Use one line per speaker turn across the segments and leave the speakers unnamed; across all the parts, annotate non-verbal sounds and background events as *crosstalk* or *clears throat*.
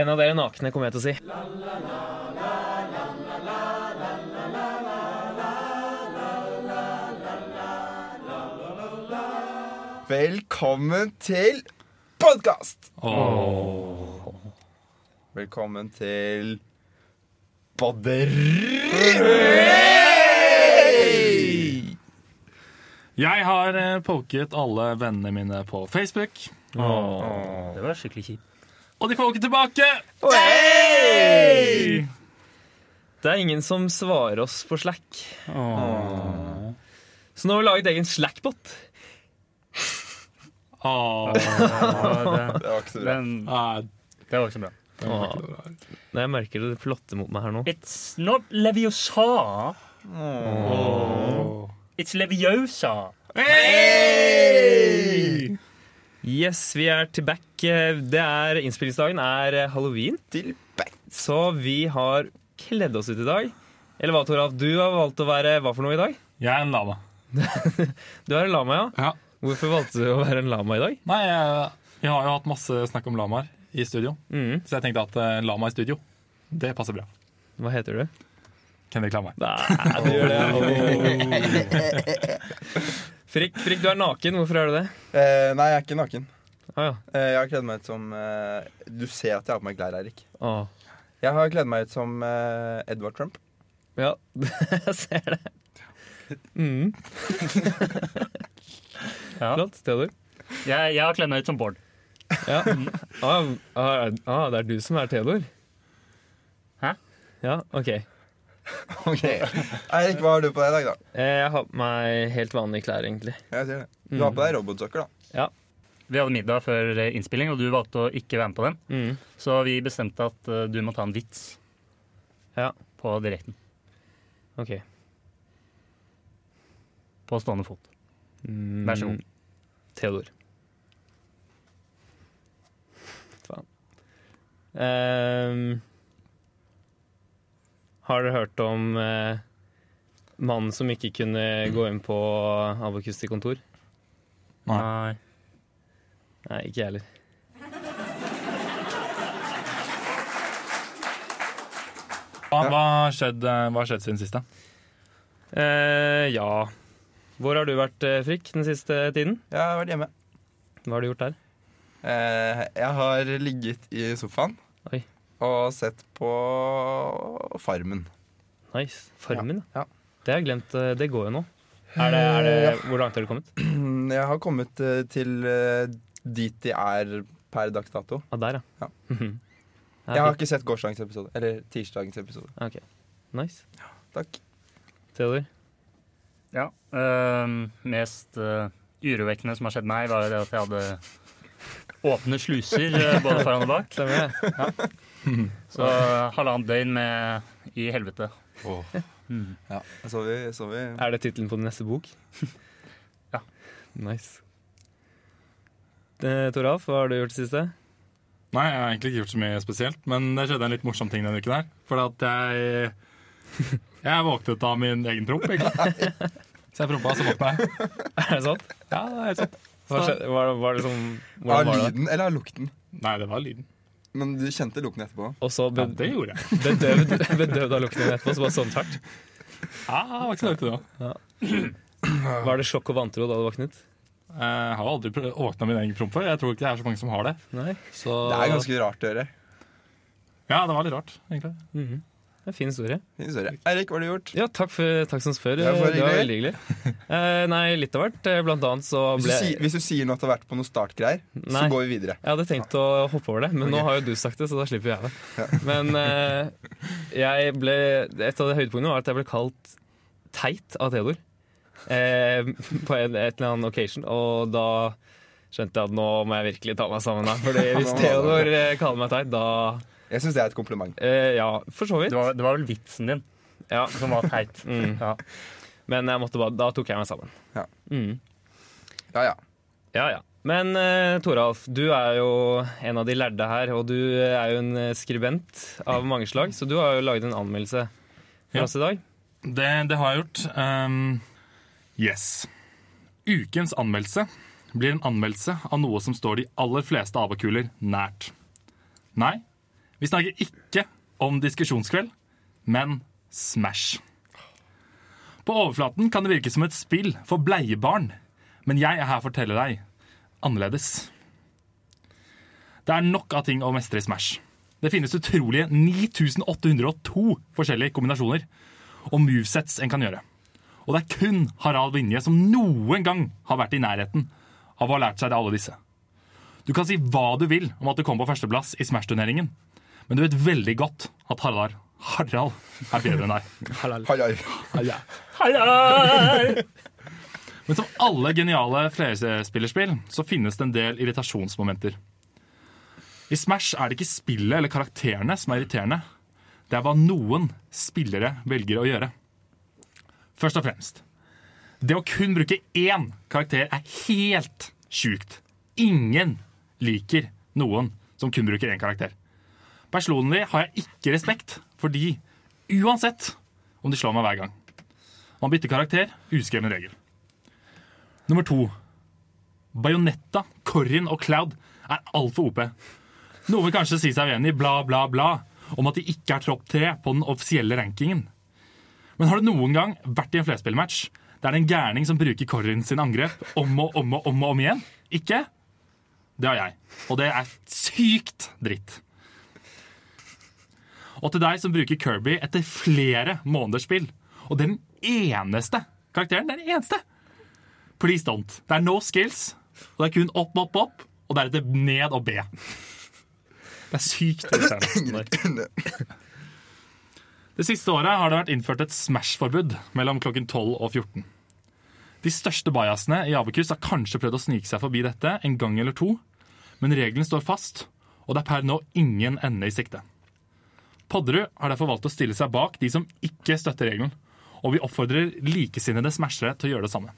En av dere nakne, kommer jeg til å si.
Velkommen til podkast!
Åh.
Velkommen til Bodder...
Jeg har eh, poket alle vennene mine på Facebook,
Det var skikkelig kjipt.
og de poker tilbake!
Det er ingen som svarer oss på Slack. Så nå har vi laget egen Slackbot.
Åh. eh,
Ja,
Det var ikke så
det,
bra.
den,
Nei,
det var ikke så bra.
det var ikke noe bra.
Nei, Jeg merker det flotte mot meg her nå.
It's not Leviosa.
Åh.
It's Leviosa.
Hey!
Yes, vi er tilbake. Det er, innspillingsdagen er eh, halloween,
Til back.
så vi har kledd oss ut i dag. Eller hva, Toralf? Du har valgt å være hva for noe i dag?
Jeg er en lama.
Du er en lama, ja.
Ja.
Hvorfor valgte du å være en lama i dag?
Nei, jeg, vi har jo hatt masse snakk om lamaer i studio,
Mm.
så jeg tenkte at eh, lama i studio, det passer bra.
Hva heter du?
Kendrick Lamar.
Nei, du *laughs* gjør det. Frikk, Frikk, du er naken. Hvorfor er du det?
Eh, nei, jeg er ikke naken.
Ah, ja.
Eh, jeg har kledd meg ut som eh, Du ser at jeg har på meg klær, Eirik.
Ah.
Jeg har kledd meg ut som eh, Edvard Trump. *laughs*
Ja, *laughs* jeg ser det. Mm.
Ja.
Flott. Theodor.
Jeg, jeg har kledd meg ut som Bård.
Ja. Ah, ah, ah, det er du som er Theodor?
Hæ?
Ja, OK. Eh,
Ok Eirik, hva har du på deg i dag, da?
Eh, Jeg har på meg helt vanlige klær, egentlig.
Jeg ser det. Du har på deg robotsokker, da.
Vi hadde middag før eh, innspilling, og du valgte å ikke være med på den.
Mm.
Så vi bestemte at eh, du må ta en vits
Ja.
på direkten.
OK.
På stående fot.
Mm.
Vær så god.
Theodor. Faen. Ehm, har dere hørt om eh, mannen som ikke kunne gå inn på Abokus til kontor?
Nei.
Nei, ikke jeg heller.
Hva hva har skjedd, eh, hva har skjedd siden sist? da?
Eh, ja. Hvor har du vært, eh, Frikk, den siste tiden?
Jeg har vært hjemme.
Hva har du gjort der?
Eh, jeg har ligget i sofaen
Oi.
og sett på Farmen.
Nice. Farmen,
Ja, Eh, ja.
Det har jeg glemt. eh, Det går jo nå. Er det, er det, hvor langt har du kommet?
*clears throat* Jeg har kommet eh, til eh, dit de er per dags dato.
Ah, der, *laughs* ja.
Ja.
Ja,
Jeg har
fint.
ikke sett gårsdagens episode. Eller tirsdagens episode.
Ok. Nice.
Takk.
Theodor?
Ja. ehm, mest eh, urovekkende som har skjedd meg, var jo det at jeg hadde åpne sluser eh, både foran og bak.
Stemmer det?
Så eh, halvannet døgn med i helvete. Mm.
Ja, så vi, så vi.
Er det tittelen på din neste bok?
Ja.
Nice. Eh, Toralf, hva har du gjort det siste?
Nei, jeg har egentlig ikke gjort så mye spesielt, men det skjedde en litt morsom ting denne uken her. For at jeg Jeg våknet av min egen promp, *laughs* egentlig. Så jeg prompa, så våkna jeg.
Er det sant?
Ja, det er helt sant.
Hva
Så,
skjedde? Var, var det sånn,
Av
hvordan var det?
lyden eller av lukten?
nei, det var lyden.
Men du kjente lukten etterpå?
Og så
Ja,
be,
det gjorde jeg.
*laughs* bedøvd, bedøvd av lukten din etterpå, så bare sånn tvert.
Ja, Ah, det var ikke så langt unna.
Var det sjokk og vantro da du våknet?
Eh, Jeg har aldri prø- våkna av min egen promp før. Jeg tror ikke det er så mange som har det.
Nei.
Så
Det er ganske rart å gjøre.
Ja, det var litt rart, egentlig.
Mhm. Det er en fin historie.
Fin historie. Eirik, hva har du gjort?
Ja, takk, for, takk som spør.
Ja, bare
det var veldig hyggelig. Eh, nei, litt av hvert. Eh, Blant annet så
Hvis du,
ble
sier, hvis du sier noe at du har vært på noen startgreier, så
Nei.
går vi videre.
Jeg hadde tenkt å hoppe over det, men nå har jo du sagt det, så da slipper jeg det. *laughs* Men eh, jeg ble, et av de høydepunktene var at jeg ble kalt teit av Theodor. eh, på en, et eller annet occasion, og da skjønte jeg at nå må jeg virkelig ta meg sammen. Da.
*laughs*
Fordi hvis Theodor eh, kaller meg teit, da
Jeg syns det er et kompliment.
eh, Ja, for så
Det
vidt.
var, det var vel vitsen din
Ja,
som var
*laughs*
teit.
Mm.
Ja.
men jeg måtte bare, da tok jeg meg sammen.
Ja.
Mm.
Ja, ja.
Ja, ja. Men eh, Toralf, du er jo en av de lærde her, og du er jo en eh, skribent av mange slag, så du har jo laget en anmeldelse for
Ja.
oss i dag.
Det, det har jeg gjort. Ehm, yes. Ukens anmeldelse blir en anmeldelse av noe som står de aller fleste avakuler nært. Nei, Vi snakker ikke om diskusjonskveld, men Smash. På overflaten kan det virke som et spill for bleiebarn, men jeg er her for å fortelle deg annerledes. Det er nok av ting å mestre i Smash. Det finnes utrolige 9802 forskjellige kombinasjoner og movesets en kan gjøre. Og det er kun Harald Vinje som noen gang har vært i nærheten av å ha lært seg alle disse. Du kan si hva du vil om at du kom på førsteplass i Smash-turneringen, men du vet veldig godt at Harald, Harald er bedre enn deg.
Hallai.
Men som alle geniale flerspillerspill, så finnes det en del irritasjonsmomenter. I Smash er det ikke spillet eller karakterene som er irriterende. Det er hva noen spillere velger å gjøre. Først og fremst. Det å kun bruke én karakter er helt sjukt. Ingen liker noen som kun bruker én karakter. Personlig har jeg ikke respekt, fordi uansett om de slår meg hver gang. Man bytter karakter. Uskreven regel. Nummer to. Bajonetta, Corrin og Cloud er altfor OP. Noe vil kanskje si seg uenig i bla, bla, bla om at de ikke er tropp tre på den offisielle rankingen. Men har du noen gang vært i en flerspillmatch der det er en gærning som bruker Corrin sin angrep om og om og om, og om igjen? Ikke? Det har jeg. Og det er sykt dritt. Og til deg som bruker Kirby etter flere måneders spill, og den eneste karakteren, den eneste Please don't. Det er no skills, og det er kun opp, opp, opp, og deretter ned og B. Det er sykt irriterende. Det siste året har det vært innført et Smash-forbud mellom klokken 12 og 14. De største bajasene i Abekus har kanskje prøvd å snike seg forbi dette en gang eller to, men regelen står fast, og det er per nå ingen ende i sikte. Podderud har derfor valgt å stille seg bak de som ikke støtter regelen, og vi oppfordrer likesinnede smashere til å gjøre det samme.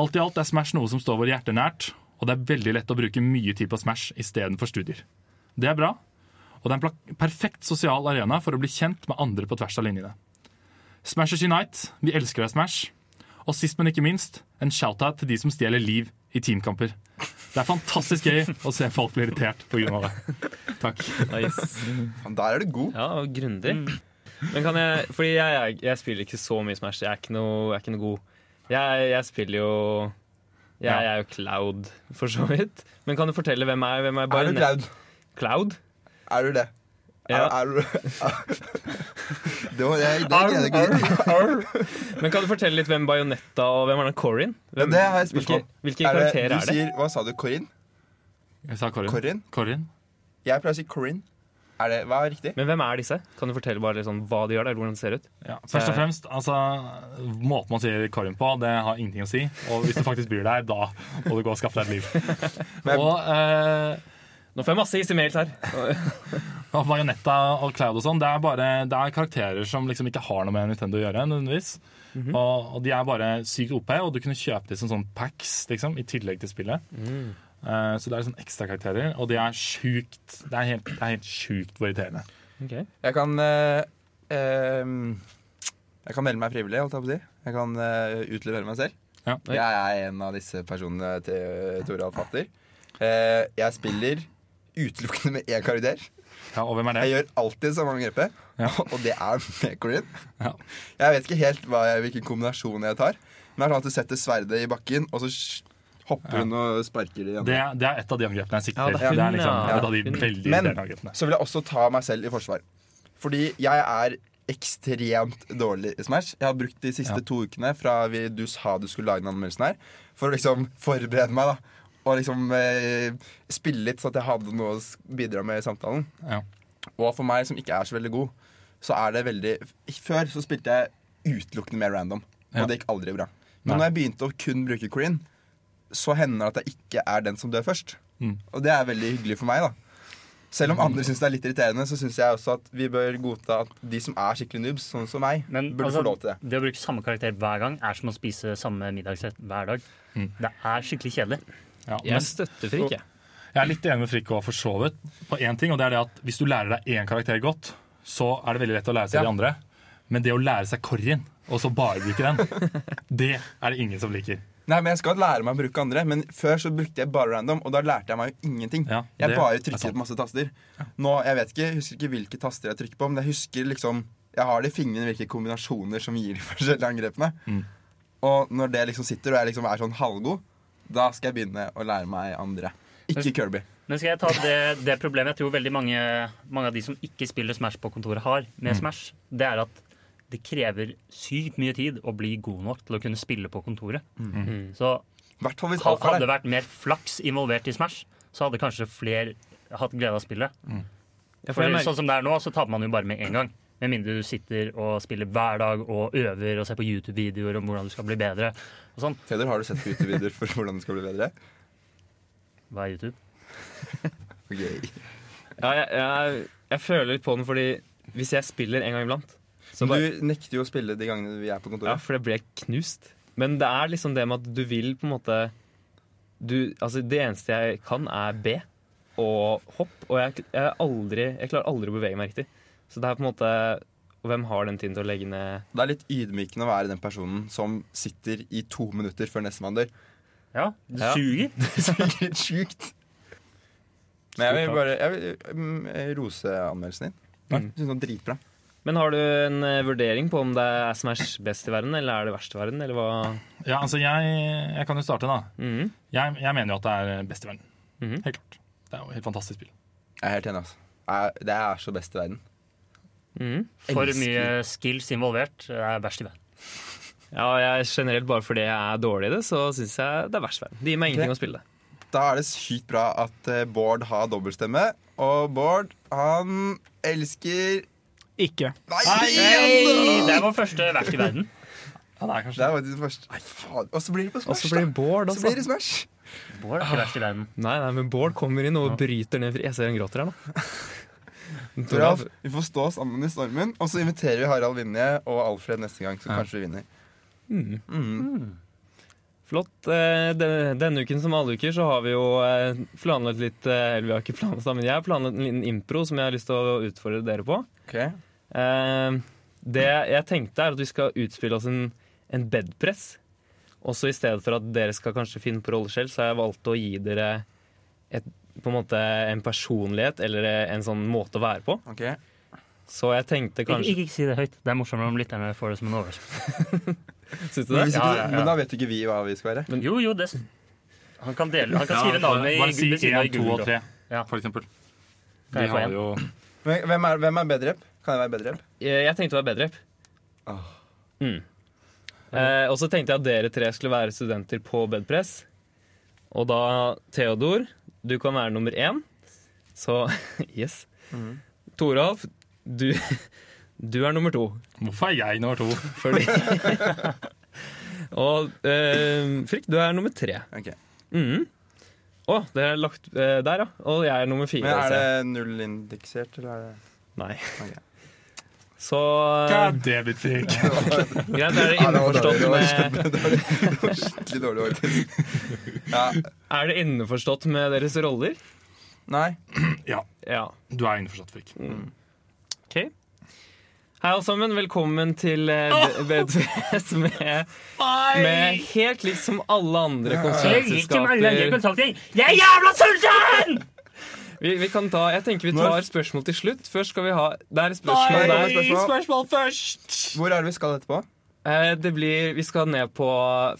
Alt i alt er Smash noe som står våre hjerter nært, og det er veldig lett å bruke mye tid på Smash istedenfor studier. Det er bra, og det er en pla- perfekt sosial arena for å bli kjent med andre på tvers av linjene. Smashers Unite, vi elsker deg, Smash. Og sist, men ikke minst, en shout-out til de som stjeler liv i teamkamper. Det er fantastisk gøy å se folk bli irritert på grunn av det. Takk.
Nice.
*laughs* Faen, Der er du god.
Ja, og grundig.
Mm.
Men kan jeg Fordi jeg, jeg, jeg spiller ikke så mye Smash. Jeg er ikke noe, jeg er ikke noe god. Jeg, jeg spiller jo jeg,
Ja.
er jo Cloud, for så vidt. Men kan du fortelle hvem er, hvem er
Er du
bajonett?
Cloud?
Cloud?
Er du det?
Ja.
Er, er du *laughs* Det var jeg, det er jeg ikke.
Men kan du fortelle litt hvem Bajonetta og hvem er den Corin? Hvem,
Ja, det har jeg et spørsmål.
Hvilke, hvilke karakterer er
Du
det?
sier, hva sa du, Corin?
Jeg sa Corin.
Corin?
Corin.
Jeg pleier å si Corin. Er det, hva er riktig?
Men hvem er disse? Kan du fortelle bare litt sånn hva de gjør der, hvordan de ser ut?
Ja, først og fremst, altså, Måten man sier Corin på, det har ingenting å si. Og hvis du faktisk bryr deg, da må du gå og skaffe deg et liv.
Men-
Og eh,
Nå får jeg masse is i mails *laughs* her.
Og Bajonetta og Cloud og sånn, det er bare det er karakterer som liksom ikke har noe med Nintendo å gjøre. nødvendigvis.
Mhm.
og, og de er bare sykt OP, og du kunne kjøpe de som sånn packs liksom, i tillegg til spillet.
Mm.
Eh, så det er sånn ekstrakarakterer, og de er sjukt Det er helt, det er helt sjukt hvor irriterende.
Ok.
Jeg kan eh, ehm, Jeg kan melde meg frivillig, holdt jeg på å si. Jeg kan eh, utlevere meg selv.
Ja.
Jeg er en av disse personene til Tora Fatter. Eh, jeg spiller utelukkende med én karakter.
Ja, og hvem
Jeg
er det?
gjør alltid samme angrepet,
Ja.
*laughs* og det er med Corinne.
Ja.
Jeg vet ikke helt hva jeg, hvilken kombinasjon jeg tar, men det er sånn at du setter sverdet i bakken, og så sj- hopper hun og sparker de
Det,
andre.
er- det er et av de angrepene jeg sikter
Ja,
til.
det
det
er
er,
hun,
liksom
ja.
et av de
Hun.
veldig
Men-
irriterende angrepene.
Så vil jeg også ta meg selv i forsvar. Fordi jeg er ekstremt dårlig i Smash. Jeg har brukt de siste
Ja.
to ukene fra vi, du sa du skulle lage den anmeldelsen her, for å liksom forberede meg, da. Og liksom eh, spille litt, så at jeg hadde noe å s- bidra med i samtalen.
Ja.
Og for meg som ikke er så veldig god, så er det veldig Før så spilte jeg utelukkende mer random, og
Ja.
det gikk aldri bra. Men
Nei.
når jeg begynte å kun bruke Corinne, så hender det at jeg ikke er den som dør først.
Mm.
Og det er veldig hyggelig for meg, da. Selv om andre syns det er litt irriterende, så syns jeg også at vi bør godta at de som er skikkelig noobs, sånn som meg,
Men
burde
altså,
få lov til det.
det å bruke samme karakter hver gang er som å spise samme middagsrett hver dag.
Mm.
Det er skikkelig kjedelig.
Ja, men-
Jeg støtter Frikk, jeg.
Jeg er litt enig med Frikk og for så vidt på én ting, og det er det at hvis du lærer deg én karakter godt, så er det veldig lett å lære seg
Ja.
de andre. Men det å lære seg Corrin, og så bare bruke den, det er det ingen som liker.
Nei, men Jeg skal lære meg å bruke andre, men før så brukte jeg bare random, og da lærte jeg meg jo ingenting.
Ja,
jeg
det
bare
er sant.
trykket masse taster. Nå, Jeg vet ikke, jeg husker ikke hvilke taster jeg trykker på, men jeg husker liksom Jeg har det i fingrene hvilke kombinasjoner som gir de *laughs* forskjellige angrepene.
Mm.
Og når det liksom sitter, og jeg liksom er sånn halvgod, da skal jeg begynne å lære meg andre. Ikke Kirby.
Men skal jeg ta det, det problemet jeg tror veldig mange, mange av de som ikke spiller Smash på kontoret, har
Mm.
med Smash, det er at det krever sykt mye tid å bli god nok til å kunne spille på kontoret. Så
I hvert fall hvis Mm. alt
hadde
er
det
der.
vært mer flaks involvert i Smash, så hadde kanskje flere hatt glede av spillet.
Ja, for
For
jeg merker-
sånn som det er nå, så taper man jo bare med en gang. Med mindre du sitter og spiller hver dag og øver og ser på YouTube-videoer om hvordan du skal bli bedre. Og sånn.
Theodor, har du sett på YouTube-videoer for hvordan det skal bli bedre?
Hva er YouTube?
Ok.
sånn- Ja, jeg, jeg, jeg føler litt på den, fordi hvis jeg spiller en gang iblant så bare,
Du nekter jo å spille de gangene vi er på
Ja,
kontoret.
for det blir jeg knust. Men det er liksom det med at du vil på en måte du, altså Det eneste jeg kan, er B og hopp. Og jeg, jeg, er aldri, jeg klarer aldri å bevege meg riktig. Så det er på en måte Og hvem har den tiden til å legge ned
Det er litt ydmykende å være den personen som sitter i to minutter før nestemann dør.
Ja, det
Ja.
suger.
Sikkert sjukt. Men jeg vil bare jeg vil, mm, rose anmeldelsen din. Mm. Jeg synes den var dritbra.
Men har du en eh, vurdering på om det er Smash best i verden, eller er det verst i verden, eller hva?
Ja, altså jeg, jeg kan jo starte, da.
Mhm.
Jeg, jeg mener jo at det er best i verden.
Mhm.
Helt klart. Det er jo et helt fantastisk spill.
Jeg er helt enig. Altså. Jeg- Det er så best i verden.
Mhm.
For
Elsker.
mye skills involvert er verst i verden.
Ja, jeg generelt bare fordi jeg er dårlig i det, så syns jeg det er verst i verden. Det gir meg ingenting å spille det.
Da er det sykt bra at eh, Bård har dobbeltstemme. Og Bård, han elsker
Ikke.
Nei!
Hei! Det er vår første verst i verden.
Ja, det er kanskje
Det er faktisk den første. Nei, faen. Og så blir det på
Og så
Smash,
blir
da.
det Bård
Så blir
også.
det Smash.
*laughs* Bård ah. er ikke verst i verden.
Nei, nei, men Bård kommer inn og bryter ned fri. Jeg ser hun gråter her nå.
*laughs* Toralf, vi får stå sammen i stormen, og så inviterer vi Harald Vinje og Alfred neste gang, så kanskje vi vinner.
Flott. Eh, Denne, denne uken som alle uker så har vi jo eh, planlagt litt eh, Eller vi har ikke planlagt det, men jeg har planlagt en liten impro som jeg har lyst til å utfordre dere på. Eh, Det jeg tenkte er at vi skal utspille oss en, en bedpress. Og så i stedet for at dere skal kanskje finne på roller selv, så har jeg valgt å gi dere et, på en måte en personlighet eller en sånn måte å være på.
Ok.
Så jeg tenkte
Ikke,
kanskje
ikke, ikke si det høyt. Det er morsommere om lytterne får det som en overraskelse.
Syns du
Men,
det?
hvis ikke,
Ja, ja, ja.
men da vet jo ikke vi hva vi skal være.
Jo, jo, det Han kan, dele, han
Ja, altså,
kan skrive navnet i
Bare si
ved siden av i
1, 2
Google.
og 3,
Ja.
for eksempel.
Kan
De
jeg få
har
en?
jo
Men Hvem er, hvem er bedre? Kan jeg være bedre?
Eh, Jeg jeg tenkte å være bedrep.
Ah.
Mm. Eh, og så tenkte jeg at dere tre skulle være studenter på bedpress. Og da, Theodor, du kan være nummer én. Så *laughs* yes.
Mm.
Toralf, du, *laughs* du er nummer to.
Hvorfor er jeg nummer to?
Fordi
*laughs*
Og eh, Frikk, du er nummer tre.
Ok.
Mhm. Å, det er lagt eh, der, ja. Og jeg er nummer fire.
Men er
ser
det
jeg.
nullindeksert, eller er det
Nei.
Ok.
Så
God damn it, Fink.
greit, er det
*laughs* Ja, det var
innforstått
dårlig, det var
med
Skikkelig dårlig
*laughs*
faktisk. Ja.
Er det innforstått med deres roller?
Nei.
Ja.
Du er innforstått, Fink.
Ok. Hei, alle sammen. Velkommen til eh, Be- Bedfest med, med helt likt som alle andre konsertselskaper.
Jeg er jævla sulten!
Vi, vi kan ta, jeg tenker vi tar spørsmål til slutt. Først skal vi ha Det er spørsmål
Nei,
der.
spørsmål.
først!
Hvor er det vi skal etterpå?
Eh, det blir Vi skal ned på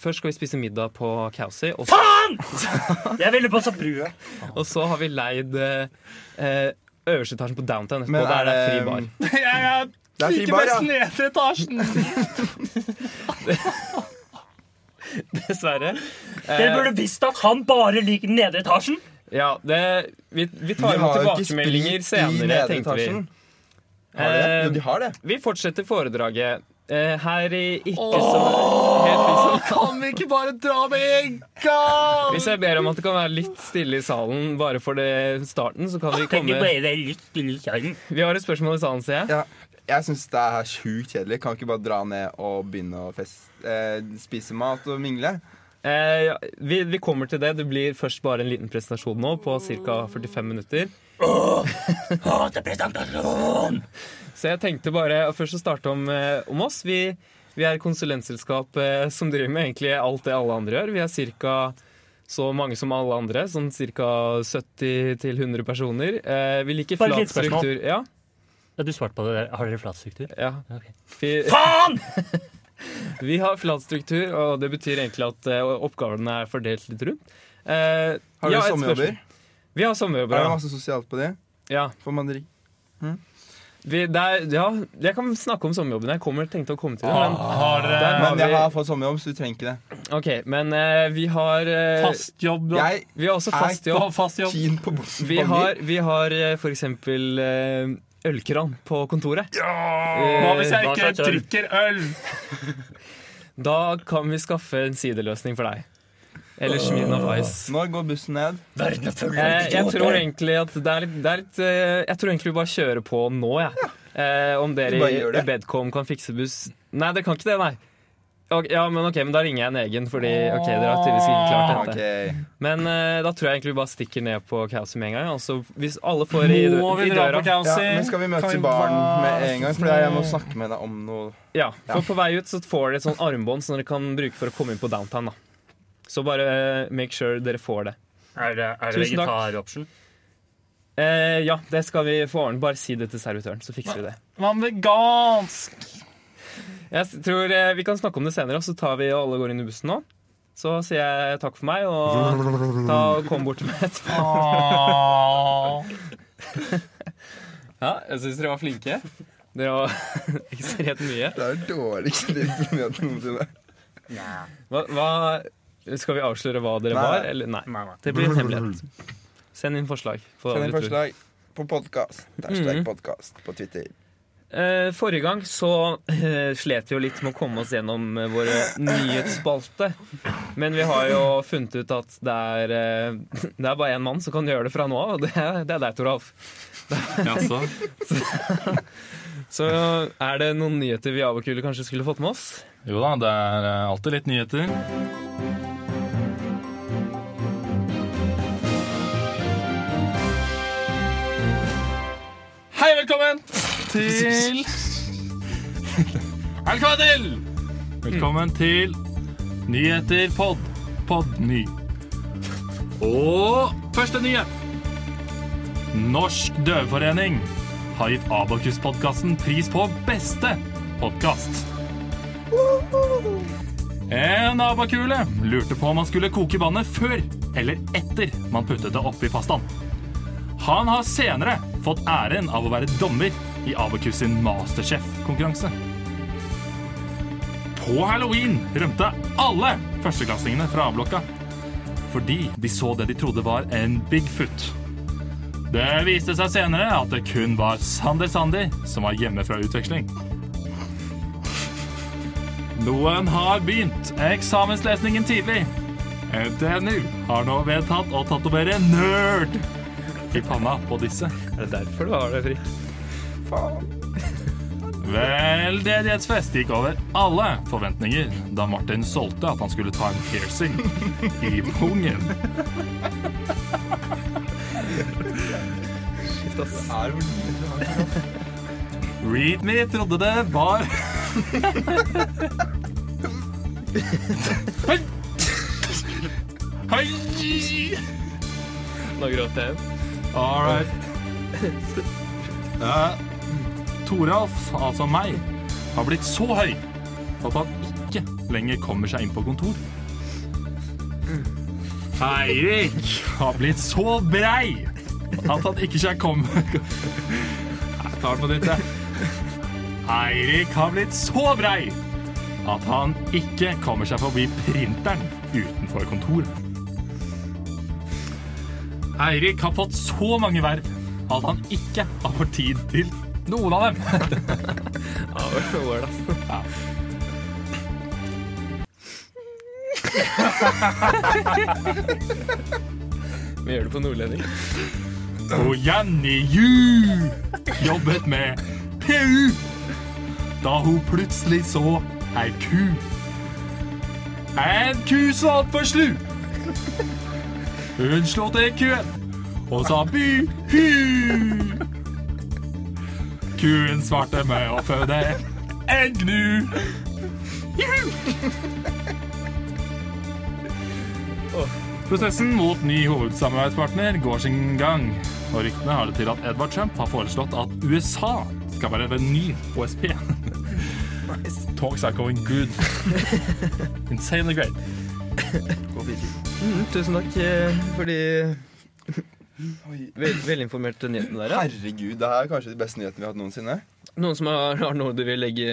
Først skal vi spise middag på Kausi, og,
Faen! Jeg ville passa brua.
og så har vi leid eh, eh, øverste etasjen på Downtown etterpå.
Men
Der det er
er um,
fri bar.
Jeg er
Det er fri bar, ja. Eh,
nedre etasjen.
*laughs* Dessverre.
Dere burde visst at han bare liker den nedre etasjen.
Ja, det, vi, vi
De
tar imot
har jo ikke
tilbakemeldinger
sprit i
senere,
nedre
tenkte vi.
etasjen. Har de det?
Eh,
Jo, de har det.
Vi fortsetter foredraget. Eh, her i ikke så helt liksom.
*laughs* Kan vi ikke bare dra med en gang?
Hvis jeg ber om at det kan være litt stille i salen bare for det starten, så kan vi
Tenker
komme
bare det er litt stille i kjøren.
Vi har et spørsmål i salen, ser jeg.
Ja. Jeg syns det er sjukt kjedelig. Kan vi ikke bare dra ned og begynne å fest, eh, spise mat og mingle?
Eh, ja, vi, vi kommer til det. Det blir først bare en liten presentasjon nå på ca. 45 minutter.
Hater presentasjon!
Så jeg tenkte bare først å starte om, eh, om oss. Vi, Vi er et konsulentselskap eh, som driver med egentlig alt det alle andre gjør. Vi er ca. så mange som alle andre, sånn ca. 70-100 personer. Eh, vi liker
Bare et
flat
lite spørsmål.
struktur. Ja,
Ja, du svarte på det der. Har dere flat struktur?
ja.
Ok.
Vi,
Faen!
Vi har flat struktur, og det betyr egentlig at eh, oppgavene er fordelt litt rundt. Eh,
Har dere
ja, et
sommerjobber?
spørsmål. Vi har
Er
sommerjobber,
det
ja.
masse sosialt på det?
ja.
Får man drikke?
Vi, det er, ja. Jeg kan snakke om sommerjobben. Jeg kommer, tenkte å komme til det.
Ah,
Men,
Har dere
der har
Men jeg
vi,
har fått sommerjobb, så du trenger ikke det.
ok, men eh, vi har eh,
fast jobb? da?
Jeg
Vi har også fast
Jeg-
jobb.
Ha fast
er
jobb.
keen på botten.
Vi har, vi har eh, for eksempel eh, ølkran på kontoret. Eh,
Hva hvis jeg
Hva
ikke
slags øl?
drikker øl?
Da kan vi skaffe en siderløsning for deg. Eller Smirnoff Ice.
Når går bussen ned?
Verden er full
Eh, jeg tror egentlig at det er litt, det er litt eh, Jeg tror egentlig vi bare kjører på nå, jeg. Eh, om dere
Vi bare gjør
i
det.
Bedcom kan fikse buss Nei, det kan ikke det, nei. Ok, ja, men ok, men da ringer jeg en egen, fordi ok, dere har tydeligvis ikke klart dette.
Ah, Ok.
Men eh, da tror jeg egentlig vi bare stikker ned på Kaoset med en gang. Altså, hvis alle får i,
Må
dø
vi
i
dra på
døra
Ja,
Kausi?
men skal vi møtes
Kan
i baren
bare-
med en gang? For jeg må snakke med deg om noe.
Ja, for på vei ut så får dere et sånt armbånd som dere kan bruke for å komme inn på downtown, da. Så bare eh, make sure dere får det.
Er det, er det
Tusen takk.
vegetaroption?
Eh, ja, det skal vi få ordnet. Bare si det til servitøren, så fikser vi det.
Hva med vegansk?
Jeg s- tror eh, Vi kan snakke om det senere, og så tar vi og alle går inn i bussen nå. Så sier jeg takk for meg, og ta og kom bort til meg etterpå.
Åh.
*laughs* Ja, jeg syns dere var flinke. Dere var *laughs* ekstremt mye.
Det er dårligste diplomatiet
*laughs*
noensinne.
Nei.
Hva, hva Skal vi avsløre hva dere
Nei.
var, eller nei?
Nei, nei.
Det blir en hemmelighet. Send inn forslag. på
Send inn
andre tur.
forslag på podkast. Hashtag
Mhm.
podkast på Twitter.
Eh, forrige gang så eh, slet vi jo litt med å komme oss gjennom eh, våre nyhetsspalte. Men vi har jo funnet ut at det er, eh, *laughs* det er bare én mann som kan gjøre det fra nå av, og det, er- det er deg, Toralf.
Jaså?
Så er det noen nyheter vi av og kule kanskje skulle fått med oss?
Jo da, det er eh, alltid litt nyheter. Hei, velkommen til Velkommen til! Velkommen til Nyheter pod... Podny. Og første nyhet. Norsk Døveforening har gitt Abakus-podkasten pris på beste podkast. En abakule lurte på om han skulle koke vannet før eller etter man puttet det oppi pastaen. Han har senere fått æren av å være dommer i Abakus sin Masterchef-konkurranse. På halloween rømte alle førsteklassingene fra A-blokka fordi de så det de trodde var en Bigfoot. Det viste seg senere at det kun var Sander Sander som var hjemme fra utveksling. Noen har begynt eksamenslesningen tidlig. NTNU har nå vedtatt å tatovere 'nerd' i panna på disse.
Er det derfor du har det fritt?
Veldedighetsfest gikk over alle forventninger da Martin solgte at han skulle ta en piercing i pungen. Read Me trodde det var *laughs* Hei! Hei!
Nå gråter jeg.
All right. Eh, Toralf, altså meg, har blitt så høy at han ikke lenger kommer seg inn på kontor. Eirik har blitt så brei at han ikke skal komme Jeg tar den på nytt, jeg. Eirik har blitt så brei at han ikke kommer seg forbi printeren utenfor kontoret. Eirik har fått så mange verv at han ikke har fått tid til noen av dem.
Ja, ål, ass. *laughs* Vi gjør det på nordlending.
Og Jenny Ju jobbet med PU da hun plutselig så ei ku. En ku som var altfor slu. Hun slo til kuen og sa by hu. Kuen svarte med å føde en gnu. Prosessen mot ny hovedsamarbeidspartner går sin gang, og ryktene har det til at Edvard Trump har foreslått at USA skal være en ny OSP. *laughs* Talks are going good. *laughs* Insanely great.
Mm, tusen takk eh, for de vel, velinformerte nyhetene der. Ja.
Herregud, det her er kanskje de beste nyhetene vi har hatt noensinne.
Noen som har, har noe du vil legge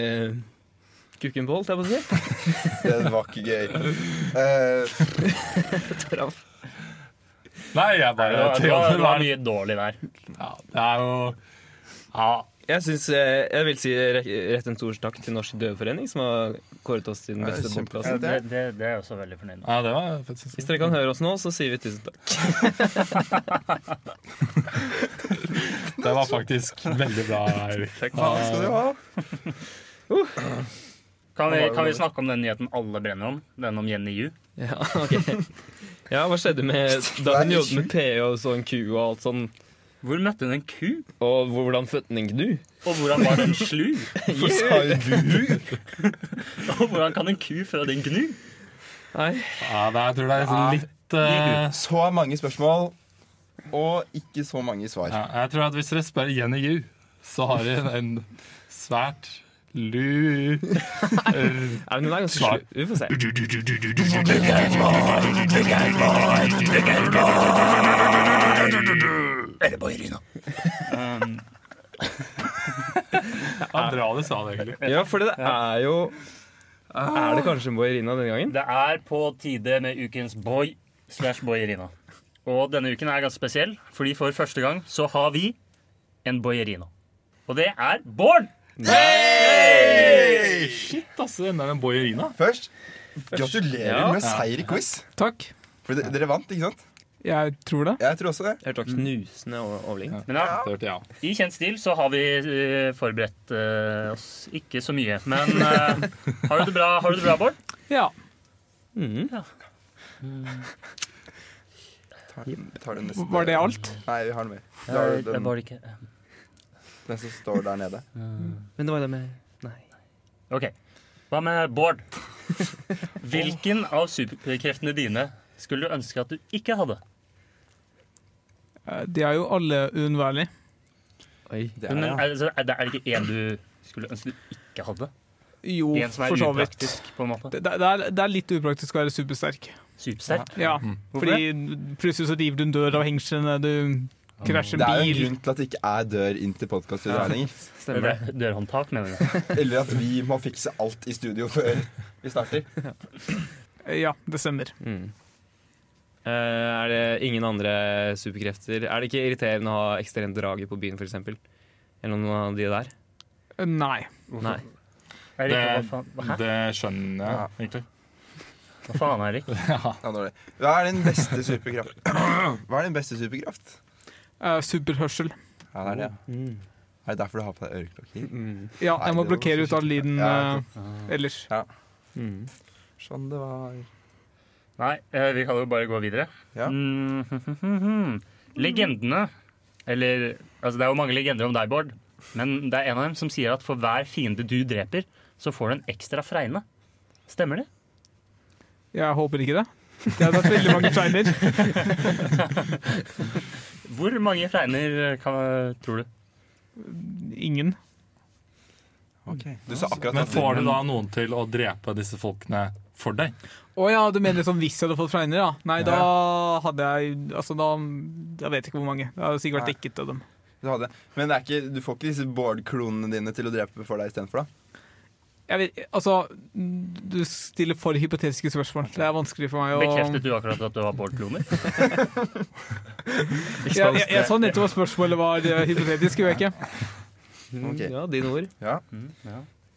kukken på, holdt jeg på å *laughs* si?
Det var ikke gøy. Eh,
Nei, jeg
Det
bare
var, det var, det var mye dårlig der.
Ja, det er jo ja,
Jeg, synes, eh, jeg vil si re- rett en stor takk til Norsk Døveforening, som har kåret oss til den
Ja, det er
beste
kjempefint.
podkasten.
Det, det, det er jeg også veldig fornøyd med.
ja, det var faktisk
Hvis dere kan høre oss nå, så sier vi tusen takk.
Det var faktisk veldig bra, Eirik.
faen skal du ha?
Kan vi, kan vi snakke om den nyheten alle brenner om? Den om Jenny Yu?
Ja, *laughs* ok. Ja, hva skjedde med da hun
Nei,
jobbet med PE og så en ku og alt sånn,
Hvor møtte hun en ku?
og hvordan fødte den en gnu?
Og hvordan var den slu?
Hvorfor sa jo du?
Og hvordan kan en ku føde en gnu?
Nei,
Ja, det, jeg tror det er sånn litt eh,
Så mange spørsmål, og ikke så mange svar.
ja, Jeg tror at hvis dere spør Jenny Yu, så har hun en svært lur
Nei, men hun er ganske
Svar.
slu. Vi får se.
Um,
Ja, bra du sa det, egentlig.
Ja, for det er jo Er det kanskje Boirina denne gangen?
det er på tide med ukens boy slash boyerina. Og denne uken er ganske spesiell, fordi for første gang så har vi en boyerina. Og det er Bård!
Shit, altså, den der boierina.
Først, gratulerer
Ja.
med seier i quiz.
Takk.
For de- dere vant, ikke sant?
Jeg tror det.
Jeg tror også det.
Jeg hørte det var knusende over- overling.
Men ja,
Det hørte jeg av.
I kjent stil så har vi eh, forberedt eh, oss ikke så mye. Men eh, har, du det bra, har du det bra, Bård?
Ja.
Mhm.
Tar, tar du neste-
Var det alt?
Nei, vi har noe mer. Du har jo den,
ikke
den som står der nede.
Men det var det med Nei.
OK. Hva med Bård? Hvilken av superkreftene dine skulle du ønske at du ikke hadde?
Eh, De er jo alle uunnværlige.
Oi.
Det
Men er, det- er, det, er det ikke én du skulle ønske du ikke hadde?
Jo,
En som er
for så vidt.
upraktisk, på en måte?
Det, det, er, det er litt upraktisk å være supersterk.
Supersterk?
Ja,
Mm.
Hvorfor
fordi plutselig så river du en dør av hengslene, du krasjer
*laughs* Det er
en
jo en
bil.
grunn til at det ikke er dør inn til podkast i dag lenger.
Stemmer det.
Dør- Dørhåndtak, mener du?
Eller at vi må fikse alt i studio før vi starter.
Ja, det stemmer.
Mm. Eh, er det ingen andre superkrefter? Er det ikke irriterende å ha ekstremt drage på byen, f.eks.? Eller noen av de der?
Eh, Nei.
Nei.
Erik, hva
Det,
faen? Hæ?
det skjønner jeg egentlig.
Hva faen, Erik?
Ja, dårlig. Hva er din beste superkraft? Hva er din beste superkraft?
Eh, superhørsel.
Ja, det er det. ja. Er det derfor du har på deg øreklokker?
Ja,
Nei, det
jeg må
var
blokkere ut all lyden
Ja,
eh, ellers.
Mm.
Sånn det var.
Nei, eh, vi kan jo bare gå videre.
Ja.
Mm, Legendene Eller altså det er jo mange legender om deg, Bård. Men det er en av dem som sier at for hver fiende du dreper, så får du en ekstra fregne. Stemmer det?
Jeg håper ikke det. Det hadde vært veldig mange feiner.
Hvor mange fregner kan, tror du?
Ingen.
Du sa akkurat
Men
at
får du da noen til å drepe disse folkene for deg?
Å ja, du mener sånn hvis jeg hadde fått fregner, ja. Nei, da hadde jeg Altså, da Jeg vet ikke hvor mange. Det hadde sikkert vært
Nei.
dekket av dem.
du hadde. Men det er ikke, du får ikke disse Bård-klonene dine til å drepe for deg istedenfor, da?
Jeg vet, altså, du stiller for hypotetiske spørsmål. Det er vanskelig for meg å
Bekreftet du akkurat at du har Bård-kloner?
Jeg, jeg, jeg sa nettopp at spørsmålet var eh, hypotetisk, gjorde jeg ikke?
Ok.
Ja, dine ord.
Ja.